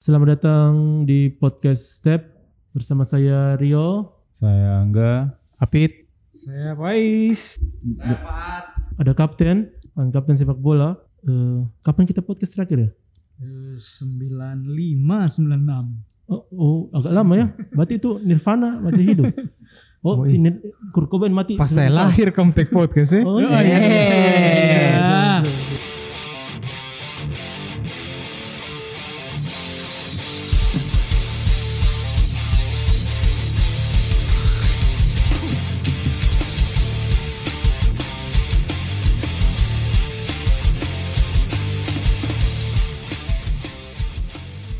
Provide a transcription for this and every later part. Selamat datang di podcast Step bersama saya Rio. Saya Angga. Apit. Saya Pais. Ada kapten, Bang kapten sepak bola. Eh, kapan kita podcast terakhir ya? 95, 96. Oh, oh, agak lama ya. Berarti itu Nirvana masih hidup. Oh, Oh, si Nir- Kurt Cobain mati. Pas saya lahir Kempek Podcast ya. Oh, Oh, iya. iya.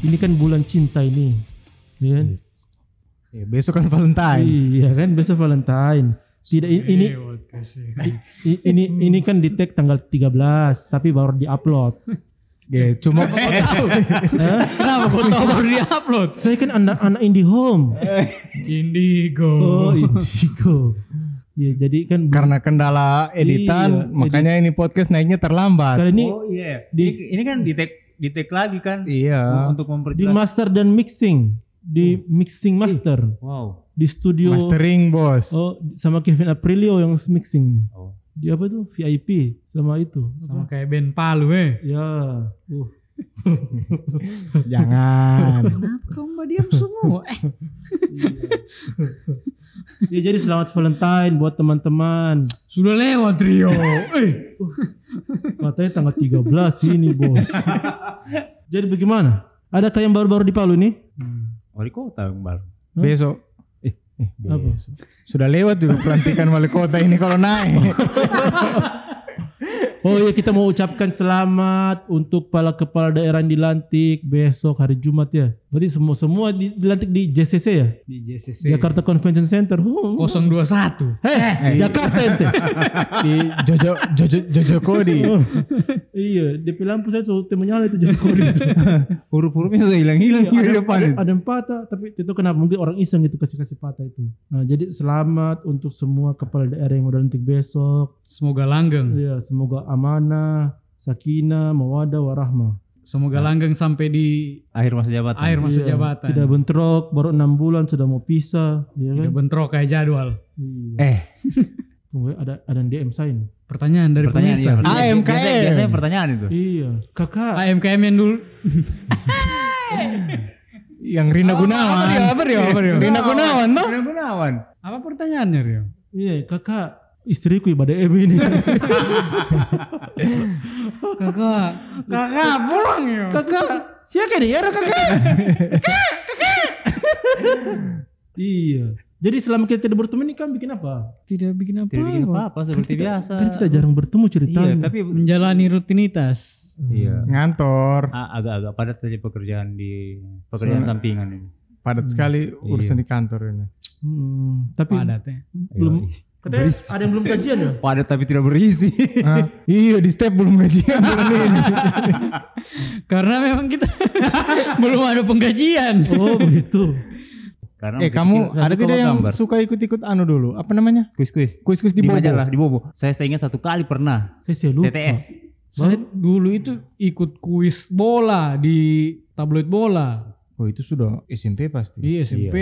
Ini kan bulan cinta ini. Iya kan? Ya, besok kan Valentine. Iya kan besok Valentine. Tidak ini ini Eh, podcast ya. i- ini, ini kan di tag tanggal 13 tapi baru di-upload. Ya, cuma Hah? Kenapa kau tahu baru diupload? Saya kan anak-anak Indihome. Indigo. Oh, Indigo. Ya, jadi kan belum- karena kendala Iya, editan, edit. makanya ini podcast naiknya terlambat. kali ini oh iya. di- ini, ini kan di tag di tag lagi kan Iya. untuk di memperjelas. master dan mixing, di Hmm. mixing master, wow. di studio Mastering, Bos. iya. Oh, sama Kevin Aprilio yang mixing. Oh. Di apa tuh? VIP sama itu. Sama Apa? kayak Ben Palu eh. Ya. Uh. Jangan. Kenapa kau mbak diam semua? Eh, ya jadi selamat Valentine buat teman-teman. sudah lewat Rio. eh, Katanya tanggal 13 ini, Bos. jadi bagaimana? Adakah yang baru-baru di Palu nih? Wali kota yang baru. besok. Eh, eh, Apa? besok. Sudah lewat juga pelantikan wali kota ini kalau naik. Oh iya kita mau ucapkan selamat untuk para kepala daerah yang dilantik besok hari Jumat ya. Berarti semua semua di- dilantik di JCC ya? di JCC. Jakarta Convention Center. Oh. Eh, 021. iya. Heh, Jakarta ente. Di Jojo Jojo Jojo Kodi. Oh, iya, di lampu saya suruh tim menyala itu Jokowi. Huruf-hurufnya saya hilang-hilang Iya, di ada, depan. ada, ada yang patah, tapi itu kenapa mungkin orang iseng gitu kasih-kasih patah itu. Nah, jadi selamat untuk semua kepala daerah yang mau dilantik besok. Semoga Hmm. langgeng. Iya, semoga amanah, sakinah, mawadah, warahmah. Semoga langgeng sampai di Akhir masa jabatan. akhir masa Iya, jabatan. Tidak bentrok, baru enam bulan sudah mau pisah, ya kan? Tidak bentrok kayak jadwal. Iya. Eh, Tunggu, ada ada yang DM saya nih. Pertanyaan dari pertanyaan pemirsa. Ah, iya. pertanyaan. AMKM. Biasanya, biasanya pertanyaan itu. Iya, kakak. AMKM yang dulu. Yang Rina Gunawan. apa dia, apa dia, apa dia? Rina Gunawan toh? Gunawan Gunawan. Apa pertanyaannya Rio? Iya, kakak. Istriku ibadah DM ini. Kakak, Kakak, pulang ya. kakak, siapa nih ya kakak? iya. Jadi selama kita tidak bertemu ini kan bikin apa? tidak bikin apa-apa. Tidak bikin apa-apa seperti kita, biasa. Kan kita jarang bertemu Iya, ceritanya. tapi Menjalani rutinitas. iya. Ngantor. A- agak-agak padat saja pekerjaan di pekerjaan Soalnya- sampingan ini. Padat Hmm. sekali Iya. urusan di kantor ini. Hmm, tapi Padat ya. belum. Iya. Katanya Berisik. ada yang belum kajian ya? Padat tapi tidak berisi. Hah? iya di step belum gajian bulan ini. Karena memang kita belum ada penggajian. Oh begitu. Karena eh masih kamu kecil, saya ada suka tidak yang gambar. suka ikut-ikut anu dulu? Apa namanya? kuis-kuis Kuis-kuis di, di, Bobo. majalah di Bobo. Saya saya ingat satu kali pernah Saya sih lupa. TTS. Saya dulu itu ikut kuis bola di tabloid bola. Oh itu sudah SMP pasti. Iya SMP.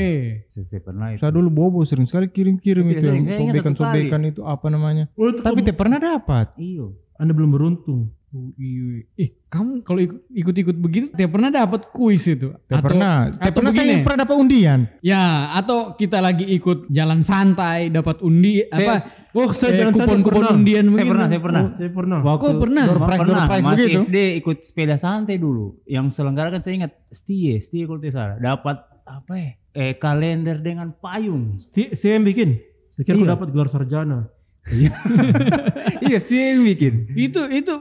Saya, saya pernah itu. Saya dulu Bobo sering sekali kirim-kirim Saya itu tidak yang sering, saya ingat satu sobekan-sobekan itu apa namanya? Oh, itu Tapi kamu- tidak pernah dapat. Iya. Anda belum beruntung. Oh, iya. Eh kamu kalau ikut- ikut-ikut begitu, tiap pernah dapat kuis itu? Tidak pernah. Tidak atau pernah saya begini. pernah dapat undian. Ya, atau kita lagi ikut jalan santai, dapat undi Saya- apa? Oh, saya jalan santai kupon-kupon pernah. undian Saya begitu. pernah, saya pernah. Oh, saya pernah. Waktu Kok pernah? Door prize, door pernah. prize Masih begitu. SD ikut sepeda santai dulu. Yang selenggarakan saya ingat Stie, Stie kalau tidak salah. Dapat apa ya? Eh kalender dengan payung. Ti- Saya yang bikin. Saya kira aku Iya. dapat gelar sarjana. iya, Stie yang bikin. Itu itu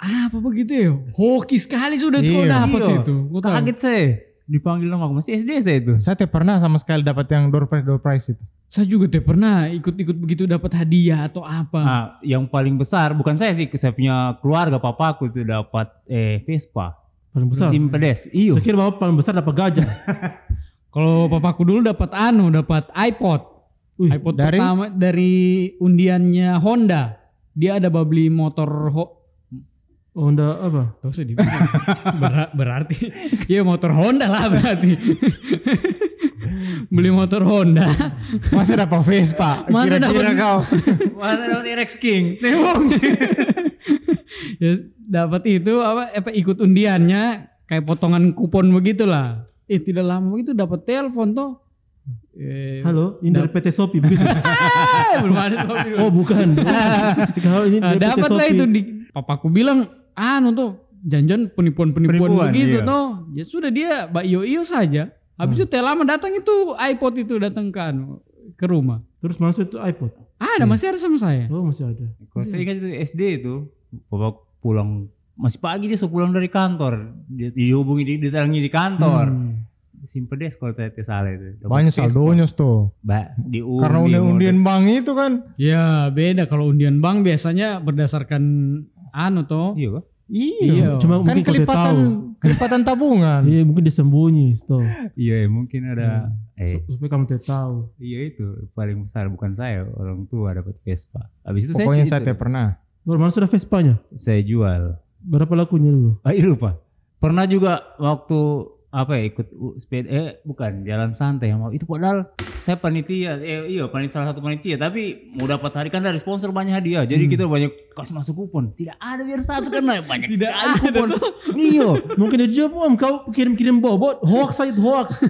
apa begitu ya? Hoki sekali sudah tuh Iya. dapat Iya. itu. Gua tahu. Kaget saya. Dipanggil nama aku masih SD saya itu. Saya tidak pernah sama sekali dapat yang door prize door prize itu. Saya juga tidak pernah ikut-ikut begitu dapat hadiah atau apa. Nah, yang paling besar bukan saya sih, saya punya keluarga papaku itu dapat eh Vespa, Paling besar. mesin pedes. Iya. Saya kira bapak paling besar dapat gajah. Kalau Hmm. papaku dulu dapat anu, dapat iPod. Wih, iPod dari? pertama dari undiannya Honda. Dia ada beli motor ho- Honda oh, apa? Tahu sih dibilang. Ber- berarti ya motor Honda lah berarti. Beli motor Honda. Masih dapat Vespa. Masa dapat- Kira-kira kau. Mana dapat Rex King? ya dapat itu apa, apa ikut undiannya kayak potongan kupon begitulah. Eh tidak lama itu dapat telepon toh. Eh, Halo, ini dari PT Shopee begitu. eh, belum ada Shopee dulu. oh, bukan. Kalau ini Nah, dari PT dapat lah Shopee. itu di papaku bilang anu tuh janjian penipuan-penipuan Penipuan, begitu iya. toh. Ya sudah dia Mbak Iyo Iyo saja. Habis itu tidak lama datang itu iPod itu datang ke anu, ke rumah. Ah, Terus masuk itu iPod. Ada masih ada sama saya. Oh, masih ada. Hmm. Kalau saya ingat itu SD itu, bapak pulang masih pagi dia sudah pulang dari kantor, dia dihubungi di diterangi di kantor. Hmm. Simpen deh kalau saya tidak salah itu. Dapat Banyak Facebook. saldonya tuh. Mbak, diundi. Karena udah undian bank itu kan. Ya beda kalau undian bank biasanya berdasarkan anu toh. Iya, Pak. Iya. Cuma kan mungkin kalau dia kelipatan tahu. kelipatan tabungan. Iya, mungkin disembunyi, toh. Iya, mungkin ada eh Supaya kamu tidak tahu. iya itu paling besar bukan saya, orang tua dapat Vespa. Habis itu Pokoknya saya saya tidak pernah. Baru mana sudah Vespanya? saya jual. Berapa lakunya dulu? Ah, iya lupa. Pernah juga waktu apa ya ikut u- sepeda eh bukan jalan santai yang mau itu padahal saya panitia eh iya panitia salah satu panitia tapi mau dapat hari kan dari sponsor banyak hadiah jadi Hmm. kita banyak kasih masuk kupon tidak ada biar satu kena banyak tidak sekali kupon iya Mungkin dia juga om kau kirim-kirim bobot, hoax aja itu hoax.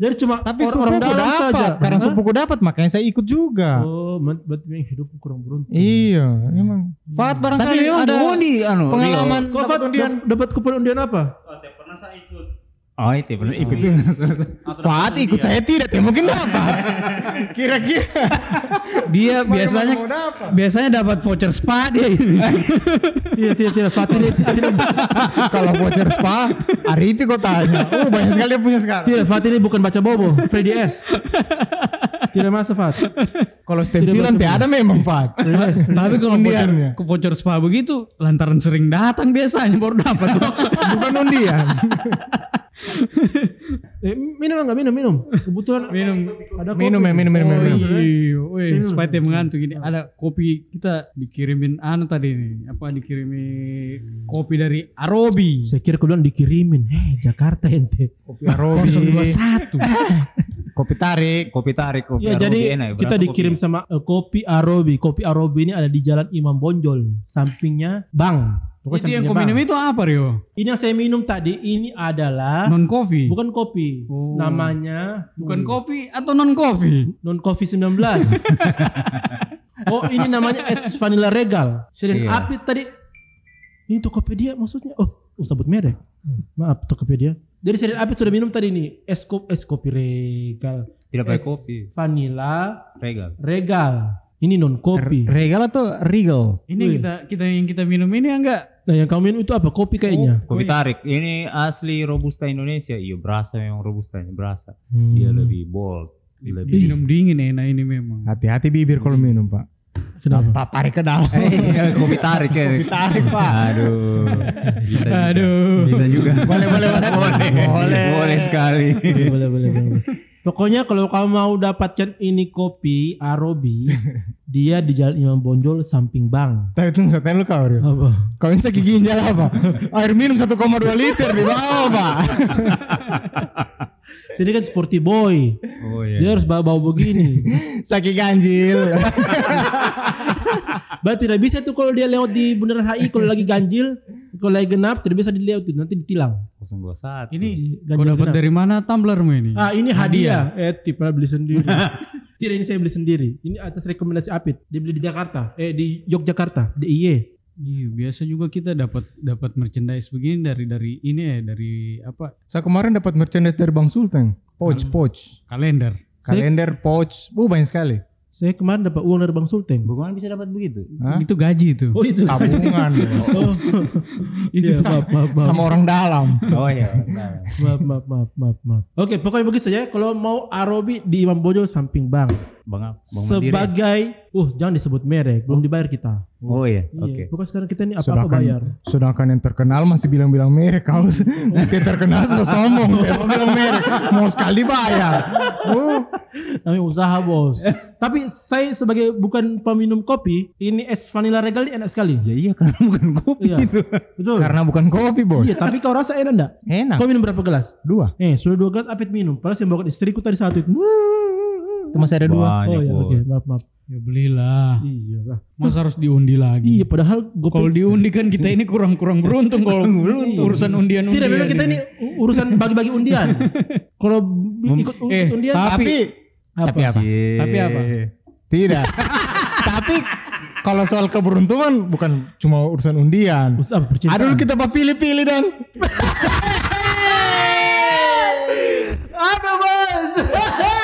Jadi cuma Tapi orang-orang sepupuku dalam dapat. saja. Karena Hah? sepupuku dapat makanya saya ikut juga. Oh, men- berarti memang hidup kurang beruntung. Iya, emang. Fat barang saya tapi memang ada undi anu pengalaman Kau dapat Fat, undian. dap- dapat kupon undian apa? Rio. oh itu pernah Iya, ikut Fat ikut saya tidak, ya mungkin dapat. Kira-kira Dia biasanya mau dapat. biasanya dapat voucher spa dia ini. Iya, tidak, tidak. Fat tidak, tidak, kalau voucher spa, Arifi kok tanya. Oh, banyak sekali yang punya sekarang. tidak. Fat ini bukan baca bobo, Freddy S. Tidak masuk Fat. Kalau stensilan Tidak tiada memang Fat. Freddy S. Tapi kalau voucher, Undiannya. ke voucher spa begitu lantaran sering datang biasanya baru dapat toh. Bukan undian. Eh, minum enggak minum minum. Kebutuhan Minum. ada kopi. Minum ya, minum, minum, Oh, minum. minum. iya. Iya, weh, Serius. supaya tim ngantuk ini ada kopi kita dikirimin anu tadi nih, apa dikirimin kopi dari Arobi. Saya kira kemudian dikirimin. Hei, Jakarta ente. Kopi Arabi, 021. kopi tarik. kopi tarik kopi Iya, Arabiana jadi ya, berapa kita dikirim sama kopinya? eh, kopi Arobi. Kopi Arobi ini ada di Jalan Imam Bonjol, sampingnya Bang. Itu sampingnya yang kau Bang. minum itu apa Rio? Ini yang saya minum tadi ini adalah Non coffee. bukan kopi. Oh. Namanya Bukan kopi atau non coffee? non coffee 19. oh, ini namanya es vanilla regal. Sirin Iya. api tadi ini Tokopedia maksudnya. Oh, oh sebut merek. Maaf Tokopedia. Jadi Sirin api sudah minum tadi nih es kopi es kopi regal. tidak pakai Es kopi Vanilla regal regal. Ini non kopi. Regal atau Regal? Ini Wih. kita kita yang kita minum ini enggak? Nah, yang kamu minum itu apa? Kopi kayaknya. kopi tarik ini asli robusta Indonesia iya berasa memang robusta berasa Hmm. Iya, dia Oh. Iya, lebih bold lebih Minum dingin enak ini memang. Hati-hati bibir kalau minum, Pak. Kenapa? Tak tarik ke dalam. Eh, kopi tarik ya. Kopi tarik, Pak. Aduh. Bisa juga. Aduh. Bisa juga. Boleh, boleh, boleh. Boleh. Boleh. Boleh sekali. boleh, boleh, boleh, boleh. Pokoknya kalau kamu mau dapatkan ini kopi Arobi, dia di Jalan Imam Bonjol samping bank. Tapi tunggu, saya tanya lu kau, Rio. Apa? Kau ini sakit ginjal apa? Air minum 1,2 liter di bawah, Pak. Jadi kan sporty boy. Oh Dia harus bawa-bawa begini. Sakit ganjil. Berarti tidak bisa tuh kalau dia lewat di Bundaran HI kalau lagi ganjil, kalau lagi genap tidak bisa dilihat tuh, nanti ditilang. 021. Ini Ganjil kau dapat genap. dari mana tumblermu ini? Ah, ini hadiah. Eh, tipe beli sendiri. tidak ini saya beli sendiri. Ini atas rekomendasi Apit. Dia beli di Jakarta. Eh di Yogyakarta, di IY. Iya, biasa juga kita dapat dapat merchandise begini dari dari ini ya, dari apa? Saya kemarin dapat merchandise dari Bang Sultan. Pouch, pouch. Kalender. Saya- Kalender, pouch. Bu, banyak sekali. Saya kemarin dapat uang dari Bang Sultan. Bagaimana bisa dapat begitu? Hah? Itu gaji itu. Oh itu. Tabungan. Oh, Iya, itu maaf, maaf, maaf, Sama orang dalam. Oh iya. ya. Nah. maaf, maaf, maaf, maaf, maaf. Oke, pokoknya begitu saja. Kalau mau Arobi di Imam Bonjol samping Bang. Bang Bang ya? Mandiri. sebagai uh jangan disebut merek belum dibayar kita Oh iya, Iya, oke. pokoknya sekarang kita ini apa apa Sedangkan, bayar sedangkan yang terkenal masih bilang-bilang merek kau. Yang terkenal sudah sombong, dia mau bilang merek. Mau sekali bayar. Oh, namanya usaha bos tapi saya sebagai bukan peminum kopi ini es vanilla regal ini enak sekali Ya iya karena bukan kopi Iya. itu. betul karena bukan kopi bos. iya tapi kau rasa enak enggak Nah. Enak. kau minum berapa gelas Dua. eh sudah dua gelas apit minum padahal saya bawakan istriku tadi satu itu Itu masih ada dua. oh Banyak, iya Bos. oke maaf maaf Ya belilah. iya lah. Masa harus diundi lagi? iya padahal Kalau gopel diundi kan kita ini kurang-kurang beruntung kalau urusan undian-undian. tidak memang kita ini urusan bagi-bagi undian kalau ikut, ikut Eh, undian tapi Tapi apa? Cie. Tapi apa? Eh. Tidak. tapi kalau soal keberuntungan bukan cuma urusan undian. Usaha apa percintaan? Aduh kita mau pilih-pilih dan. Apa bos?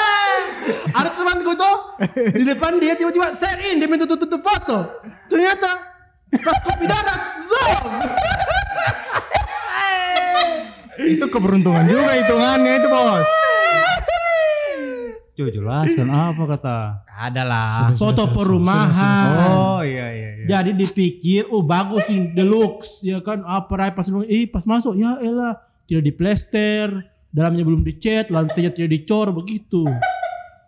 Ada temanku tuh di depan dia tiba-tiba set in dia minta tutup-tutup foto. Ternyata pas kopi darat zoom. Itu keberuntungan juga hitungannya itu bos. Coba jelaskan apa kata. Ada lah. Foto perumahan. Oh iya iya iya. Jadi dipikir, oh bagus nih deluxe ya kan apa Rai pas dulu, ih pas masuk ya elah tidak diplester, dalamnya belum dicat, lantainya tidak dicor begitu.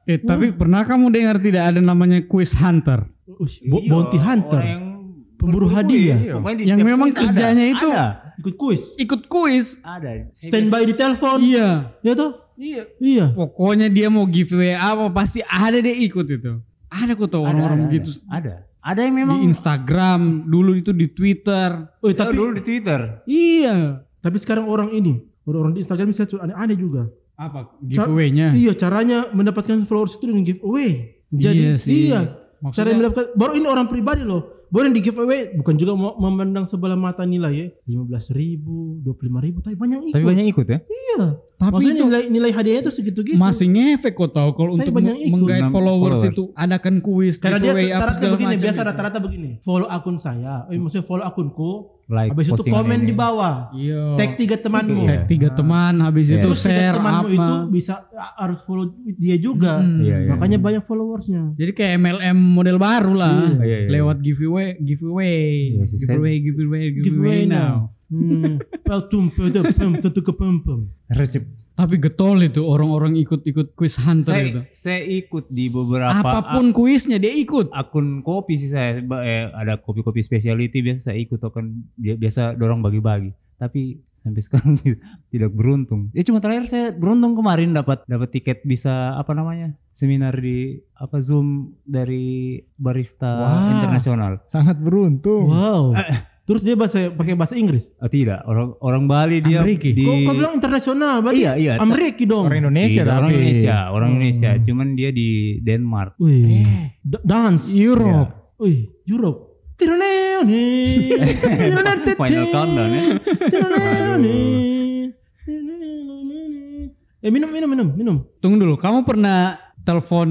Eh, tapi pernah kamu dengar tidak ada namanya quiz hunter? Ush, bo- bounty hunter, Iya, Orang yang pemburu hadiah, Pokoknya di Yang setiap memang kuis ada. kerjanya itu ada. ikut kuis, ikut kuis. Ada. Saya standby di telepon, Iya. ya tuh, Iya. iya. Pokoknya dia mau giveaway apa pasti ada dia ikut itu. Ada kok tau biasa- orang-orang ada, gitu Ada. ada. Ada yang memang. di Instagram, dulu itu di Twitter. Oh, Kita tapi dulu di Twitter. Iya. Tapi sekarang orang ini, orang-orang di Instagram bisa aneh-aneh juga. Apa giveaway-nya? Iya, caranya mendapatkan followers itu dengan giveaway. Jadi Iya iya, sih. Maksudnya- cara mendapatkan baru ini orang pribadi loh. Baru yang di giveaway bukan juga mau memandang sebelah mata nilai ya. 15 ribu, 25 ribu, tapi banyak yang ikut. Tapi banyak ikut ya. Iya. Tapi Maksudnya itu nilai, nilai hadiahnya tuh segitu-gitu. masih ngefek kok tau kalau Tapi untuk banyak ikut. menggait Enam followers, followers. itu adakan kuis Karena dia giveaway apa syaratnya segala begini, macam biasa gitu. rata-rata begini. Follow akun saya, eh, maksudnya follow akunku, Like habis itu postingan komen ini. di bawah. Iya. Oh. Tag tiga temanmu. Gitu ya. Tag tiga Nah. teman habis Iya. itu Terus tiga share temanmu apa. itu bisa harus follow dia juga. Mm. Iya, iya. Makanya banyak followersnya. Jadi kayak MLM model baru lah. Iya, iya, iya. Lewat giveaway, giveaway, Iya sih, saya- giveaway, giveaway, giveaway, Giveaway now. Hmm. Peltum, peltum, pem, tentu ke pem, pem. Resep. Tapi getol itu orang-orang ikut-ikut quiz hunter itu. Saya, saya ikut di beberapa Apapun kuisnya dia ikut. akun kopi sih saya Ba- eh, ada kopi-kopi specialty biasa saya ikut token Dia- biasa dorong bagi-bagi tapi sampai sekarang tidak beruntung ya cuma terakhir saya beruntung kemarin dapat dapat tiket bisa apa namanya seminar di apa zoom dari barista Wah. internasional Sangat beruntung. Wow. Eh, Terus dia bahasa pakai bahasa Inggris. oh, tidak orang orang Bali dia Amerika. Iya, di Kok kau bilang internasional, berarti iya iya Amerika dong. Orang Indonesia Tidak, tapi. orang Indonesia orang Hmm. Indonesia cuman dia di Denmark Wih. Eh. D- Dance. Iya. Europe. Wih, Europe. Final final countdown ya Eh minum minum minum minum. Tunggu dulu, kamu pernah telepon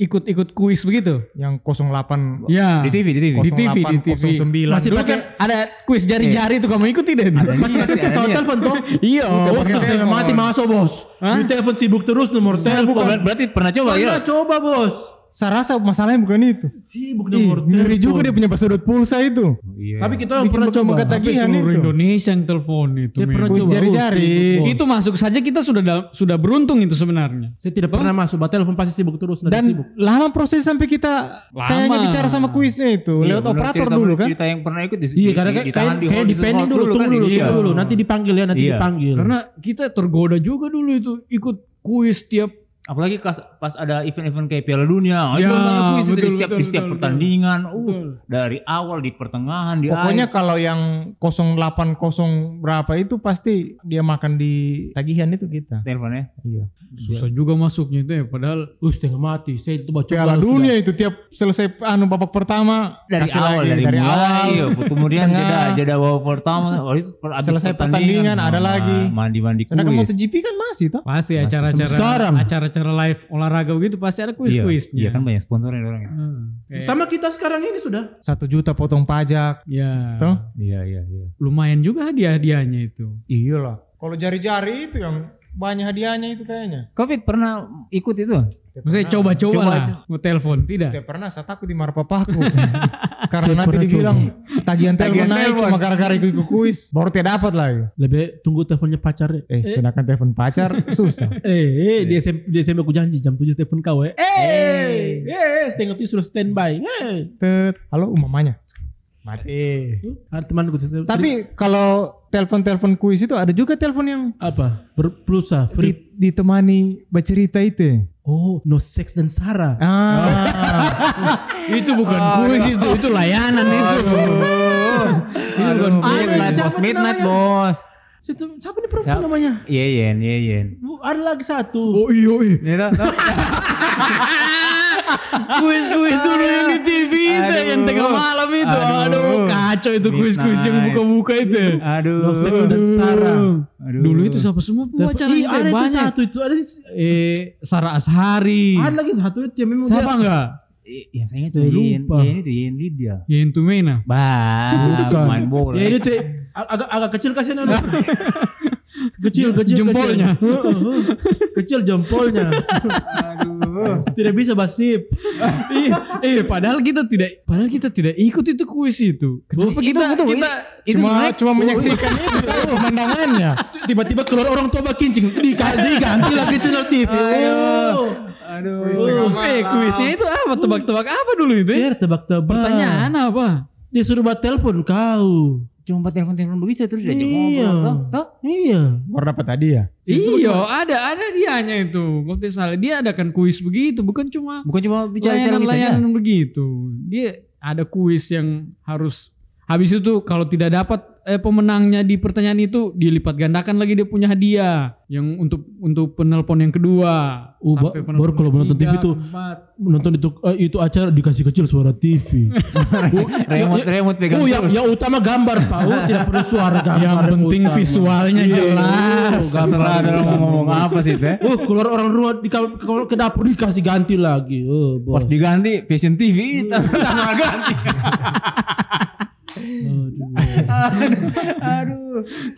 ikut-ikut kuis begitu? Yang 08 Ya. di TV di TV Di TV, di TV. 09. Masih Dulu pakai- kan ada kuis jari-jari Iya. itu kamu ikut tidak? itu? Masih pakai pesawat telepon tuh. Iya. Oh, saya mati masuk bos. Hah? Di telepon sibuk terus nomor telepon. Ber- berarti pernah coba ya Pernah coba bos. Saya rasa masalahnya bukan itu. Sibuk Ih, nomor ngeri juga dia telepon. punya password pulsa itu. Iya. Tapi kita Bikin pernah bekam coba. kata- Tapi Tagihan seluruh Iya, itu. Indonesia yang telepon itu. Saya men. pernah Kuis coba. jari-jari. Oh, sibuk, bos. Itu masuk saja kita sudah da- sudah beruntung itu sebenarnya. Saya tidak pernah masuk, bah telepon pasti sibuk terus nanti Dan sibuk. lama proses sampai kita Lama. kayaknya bicara sama kuisnya itu. Iya, lewat benar, operator cerita- dulu kan. Cerita yang pernah ikut di Iya, di- karena di- kayak ditahan di kayak hall, di pending hold dulu, tunggu kan, dulu, iya. tunggu dulu, nanti dipanggil ya, nanti Iya. dipanggil. Karena kita tergoda juga dulu itu ikut kuis tiap Apalagi pas, pas ada event-event kayak Piala Ya, Dunia, itu ada kuis itu di betul, setiap betul, di setiap betul, pertandingan, uh, Betul. dari awal di pertengahan di Pokoknya akhir. kalau yang 080 berapa itu pasti dia makan di tagihan itu kita. teleponnya. Iya. susah juga masuknya itu ya padahal uh, setengah mati, saya itu baca Piala dunia itu tiap selesai anu babak pertama Dari kasih awal, lagi, dari, mulai, awal. iya, kemudian tengah. jeda jeda babak pertama, habis per- habis Selesai pertandingan, ada nah, lagi. Mandi-mandi kuis. Sedangkan MotoGP kan masih toh. pasti acara-acara sekarang. acara-acara live olahraga begitu pasti ada Iya, kuis-kuisnya. Iya, kan banyak sponsornya orang itu. Hmm, kayak- Sama kita sekarang ini sudah. Satu juta potong pajak. ya. Toh? Iya, iya, iya. Lumayan juga hadiah-hadiahnya itu. Iya lah. Kalau jari-jari itu yang banyak hadiahnya itu kayaknya. Covid pernah ikut itu? Maksudnya coba-coba Coba lah. Mau telepon tidak? Tidak pernah, saya takut dimarah papaku. Karena nanti dibilang tagihan tagihan telepon naik cuma gara-gara ikut kuis. Baru tidak dapat lagi. Lebih tunggu teleponnya pacarnya. Eh, sedangkan telepon pacar susah. Eh, eh di, SMP, di SMP aku janji jam 7 telepon kau eh. Eh, eh, setengah tujuh sudah standby. Eh. Tet. Halo umamanya. Mati. Ada temanku sering- Tapi kalau telepon-telepon kuis itu ada juga telepon yang apa? Berpulsa free. di- ditemani bercerita itu. Oh, no sex dan Sarah. Oh. Ah, Itu bukan kuis itu, itu layanan itu. Iya, Aduh, midnight, bos, midnight, bos. Situ, siapa nih perempuan Siapa? namanya? Yeyen, yeyen. Bu, Ada lagi satu. Oh iya, iya. Ini tau, tau. Kuis-kuis dulu yang di TV itu Aduh. yang tengah malam itu. Aduh, Aduh. kacau itu kuis-kuis yang Midnight. buka-buka ya? itu. Aduh. No sex dan Sarah. Aduh. Dulu itu siapa semua pembacara Ih, Iya, ada itu ya, itu banyak. satu itu ada si- Eh, Sarah Ashari. Ada lagi satu itu yang memang Siapa enggak? I- Yang saya itu Saya Yeyen, lupa. Yeyen itu Yeyen Lydia. Ya Intumena. Bah, main bola. Ya ini tuh ag- agak agak kecil kasihan anu. kecil kecil Jempolnya. kecil. Heeh, heeh. kecil jempolnya aduh tidak bisa basip eh, padahal kita tidak padahal kita tidak ikut itu kuis itu. Kenapa Itu- kita itu- kita itu cuma sebenarnya- cuma menyaksikan itu pemandangannya. tiba-tiba keluar orang tua bak kincing diganti ganti lagi channel TV aduh Oh, eh kuisnya itu apa tebak-tebak apa dulu itu? Ya? Iya. biar tebak-tebak Pertanyaan apa? disuruh buat telepon kau Cuma telepon-telepon begitu terus diajak Iya. ngobrol. Tau, tau. iya Baru dapat tadi ya. Iya, ada ada dianya itu. Kalau tidak salah dia adakan kuis begitu, bukan cuma Bukan cuma bicara-bicara gitu aja. layanan-layanan begitu. Dia ada kuis yang harus habis itu kalau tidak dapat eh, pemenangnya di pertanyaan itu dilipat gandakan lagi dia punya hadiah yang untuk untuk penelpon yang kedua. Oh, ba- Sampai baru penelpon kalau menonton ketiga, TV tuh, keempat. nonton itu eh, itu acara dikasih kecil suara TV Oh, ya- Remote, ya- remote pegang oh yang, terus. yang utama gambar pak oh tidak perlu suara gambar yang penting utama. visualnya Iya, jelas. oh, gambar Terserah dalam utama. ngomong apa sih teh. Oh keluar orang rumah di kam- ke, ke dapur dikasih ganti lagi. Oh Pas bos. diganti Vision TV langsung ganti.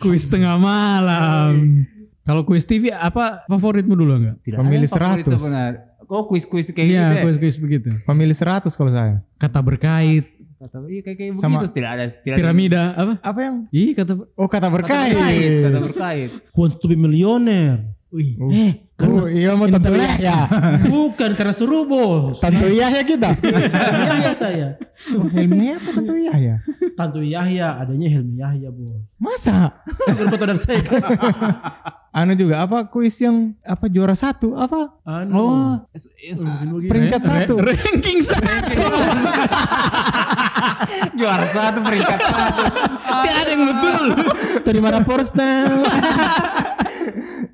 Kuis tengah malam. Kalau kuis TV apa favoritmu dulu enggak? Tidak Pemilih ada yang favorit 100. sebenarnya. Kok kuis-kuis kayak gitu Iya, ya? kuis-kuis begitu. Pemilih 100 kalau saya. Kata berkait, Kata iya kayak kayak Sama- begitu tidak ada tidak ada- piramida apa? Apa yang? Ih, kata Oh kata Kata berkait, berkait. kata berkait. Who wants to be millionaire? Wih, Eh karena Oh iya mau tentu ya. ya. bukan karena seru bos. Tentu ya ya kita. Tantu Yahya saya. Oh, Helmi apa tentu ya ya? Tantu Yahya adanya Helmi Yahya bos. Masa? Berfoto dari saya. Anu juga apa kuis yang apa juara satu apa Anu. Oh, s- s- peringkat satu ranking satu. juara satu peringkat satu. Tidak ada yang betul. terima rapor style.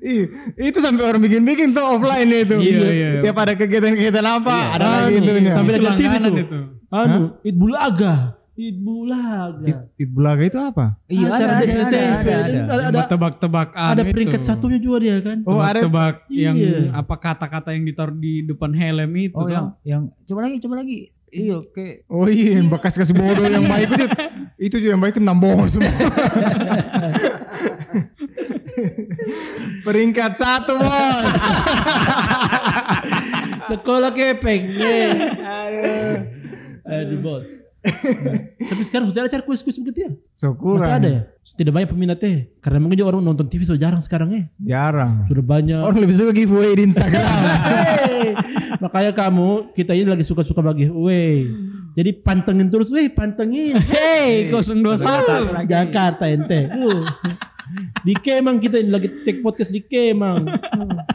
Ih, itu sampai orang bikin-bikin tuh offline itu. Iya, iya. Tiap ada kegiatan-kegiatan apa, ada lagi Anu, itu. Sampai Itu lihat TV langganan tuh. Iya, itu. Anu, It Bulaga. It Bulaga. It Bulaga itu apa? Iya, ada, Acara ada, di ada, SCTV, ada, dan ada. ada, ada, tebak-tebak ada peringkat satunya juga dia kan. Oh, ada tebak yang Iya. apa kata-kata yang ditaruh di depan helm itu kan. Oh, yang tuh. yang coba lagi, coba lagi. Iya, oke. Oh iya, yang bekas kasih bodoh yang baik itu. Itu juga yang baik itu bohong semua. Peringkat satu bos. Sekolah kepeng. yeay. Aduh bos. Tapi sekarang sudah ada acara kuis-kuis begitu ya? Syukur. Masih ada ya? Tidak banyak peminatnya. Karena mungkin juga orang nonton TV so jarang sekarang ya. Jarang. Sudah banyak. Orang lebih suka giveaway di Instagram. Hey, Makanya kamu, kita ini lagi suka-suka bagi away. Jadi pantengin terus, weh pantengin. Hey, Eh, kau 021. Jakarta ente. Uh. Di Kemang kita ini lagi take podcast di Kemang. Uh.